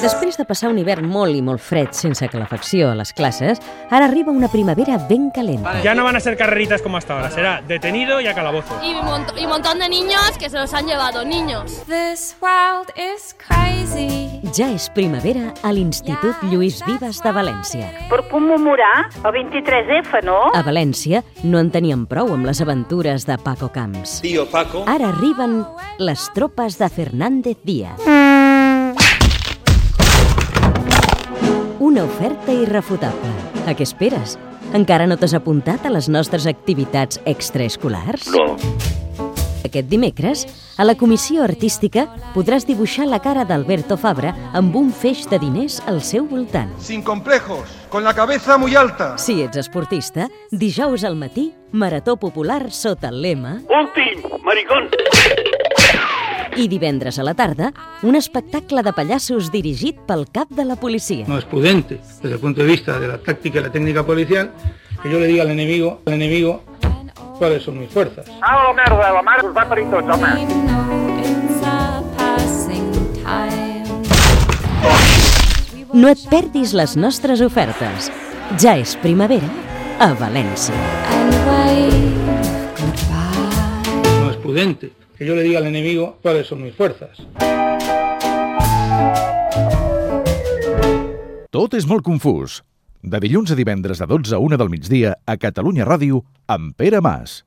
Després de passar un hivern molt i molt fred sense calefacció a les classes, ara arriba una primavera ben calenta. Ya no van a ser carreritas como hasta ahora, será detenido y a calabozo. Y un, mont- y un montón de niños que se los han llevado, niños. This world is crazy. Ja és primavera a l'Institut Lluís Vives de València. Per commemorar el 23F, no? A València no en tenien prou amb les aventures de Paco Camps. Tío Paco. Ara arriben les tropes de Fernández Díaz. Una oferta irrefutable. A què esperes? Encara no t'has apuntat a les nostres activitats extraescolars? No. Aquest dimecres, a la comissió artística, podràs dibuixar la cara d'Alberto Fabra amb un feix de diners al seu voltant. Sin complejos, con la cabeza muy alta. Si ets esportista, dijous al matí, Marató Popular sota el lema Últim, maricón. i divendres a la tarda, un espectacle de pallassos dirigit pel cap de la policia. no es prudente desde el punto de vista de la táctica y la técnica policial que yo le diga al enemigo, al enemigo cuáles son mis fuerzas. Au, merda, la mar us va parir tots, home. We know it's a passing time. No et perdis les nostres ofertes. Ja és primavera a València. And wave goodbye. No es prudente que yo le diga al enemigo cuáles son mis fuerzas. Tot és molt confús. De dilluns a divendres de 12 a 1 del migdia a Catalunya Ràdio amb Pere Mas.